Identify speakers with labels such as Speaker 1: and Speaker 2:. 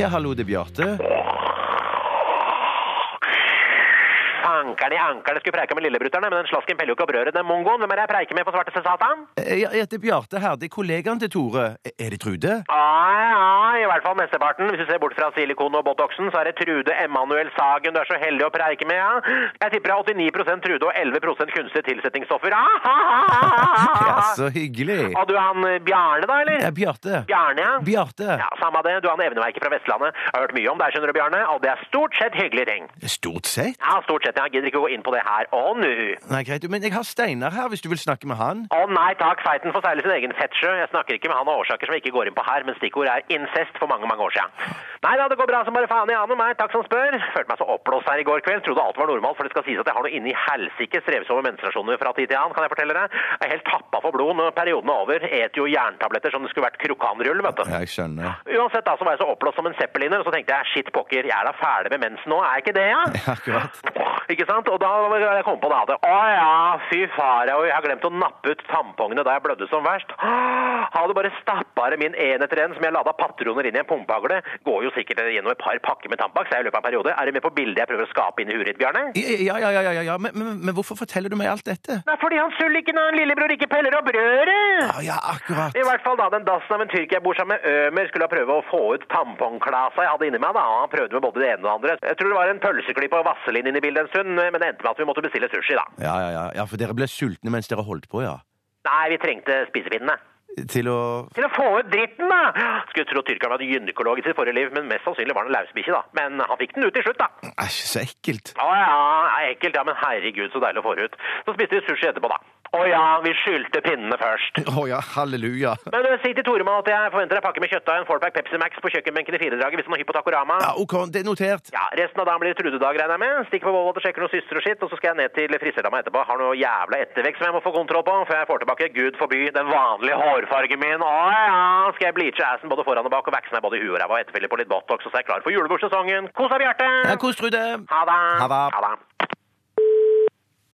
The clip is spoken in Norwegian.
Speaker 1: Ja, hallo, det er Bjarte.
Speaker 2: Ankerne i ankerne skulle preike med lillebrutterne, men den slasken peller jo ikke opp røret. Den mongoen, hvem er det jeg preiker med på svarteste satan?
Speaker 1: Eh, Ja, ja, det er Bjarte her. Det er kollegaen til Tore. Eh, Er det Trude?
Speaker 2: Ai, ai, i hvert fall mesteparten. Hvis du ser bort fra silikon og botoxen, så er det Trude Emanuel Sagen du er så heldig å preike med, ja. Jeg tipper det er 89 Trude og 11 kunstige tilsetningsstoffer. Ah, ah, ah, ah,
Speaker 1: Ja,
Speaker 2: ah.
Speaker 1: så hyggelig.
Speaker 2: Og du er han eh, Bjarne, da, eller?
Speaker 1: Ja, Bjarte.
Speaker 2: Bjarne, ja.
Speaker 1: Bjarte.
Speaker 2: Ja, Samme det, du er han evneverket fra Vestlandet. Jeg har hørt mye om deg, skjønner du, Bjarne, og det er stort sett hyggelige ting.
Speaker 1: Stort sett.
Speaker 2: Ja, stort sett. Jeg gidder ikke å gå inn på det her og nå.
Speaker 1: Nei, greit. Men jeg har Steinar her, hvis du vil snakke med han.
Speaker 2: Å nei takk, feiten får seile sin egen fettsjø. Jeg snakker ikke med han av årsaker som jeg ikke går inn på her, men stikkordet er incest for mange, mange år siden. Nei da, det går bra som bare faen i Ane, meg, takk som spør. Følte meg så oppblåst her i går kveld, trodde alt var normalt, for det skal sies at jeg har noe inni helsike strevsomme menstruasjoner fra tid til annen, kan jeg fortelle deg. Jeg er helt tappa for blod når perioden er over, eter jo jerntabletter som det skulle vært krokanrull, vet du.
Speaker 1: Ja, jeg skjønner.
Speaker 2: Uansett da, så var jeg så oppblåst som en zeppeliner, og så tenkte jeg, shit pokker, jeg er da ferdig med mensen nå, er jeg ikke det, ja?
Speaker 1: Ja, akkurat.
Speaker 2: Ikke sant? Og da var jeg kom på det andre. Å ja, fy fara, og jeg har glemt å nappe ut tampongene da jeg blødde som verst. Hadde bare stappa det min en etter en som jeg lada patroner inn i en pumpehagle. Går jo sikkert gjennom et par pakker med Tampax jeg i løpet av en periode. Er du med på bildet jeg prøver å skape inn i huet ditt, Bjarne?
Speaker 1: Ja, ja, ja, ja, ja, ja. Men, men, men hvorfor forteller du meg alt dette?
Speaker 2: Nei, fordi han sulliken og han lillebror ikke peller opp røret!
Speaker 1: Ah, Ja, ja, akkurat.
Speaker 2: I hvert fall da den dassen av en tyrk jeg bor sammen med Ømer skulle ha prøve å få ut tampongklasa jeg hadde inni meg da. Han prøvde med både det ene og det andre. Jeg tror det var en pølseklipp og vaselin inne i bildet en stund, men det endte med at vi måtte bestille sushi da.
Speaker 1: Ja, ja, ja, ja, for dere ble sultne mens dere holdt på, ja.
Speaker 2: Nei, vi trengte spisepinnene.
Speaker 1: Til å
Speaker 2: Til å få ut dritten, da! Skulle tro tyrkeren var gynekolog i sitt forrige liv, men mest sannsynlig var han en lausbikkje, da. Men han fikk den ut til slutt, da.
Speaker 1: Æsj, så ekkelt.
Speaker 2: Å ja, er ekkelt, ja, men herregud, så deilig å få det ut. Så spiste vi sushi etterpå, da. Å ja, vi skylte pinnene først.
Speaker 1: Å ja, halleluja.
Speaker 2: Men eh, si til Toremann at jeg forventer ei pakke med kjøttdeig og en fourpack Pepsi Max på kjøkkenbenken i firedraget hvis han er hypp på Takorama.
Speaker 1: Ja, OK, det er notert.
Speaker 2: Ja, resten av dagen blir det Trude-dag, regner jeg med. Stikk på Volvat og sjekker noen søstre og skitt, og så skal jeg ned til friserdama etterpå. Har noe jævla ettervekst som jeg må få kontroll på, før jeg får tilbake, gud forby, den vanlige hårfargen min. Å ja, skal jeg bleache assen både foran og bak, og vakse meg både i huet og ræva og etterfylle på litt botox, og så er jeg klar for julebordsesongen. Kos deg, Bjarte!
Speaker 1: Ja, Kos, Trude.
Speaker 2: Ha det!
Speaker 1: Ha det.
Speaker 2: Ha det.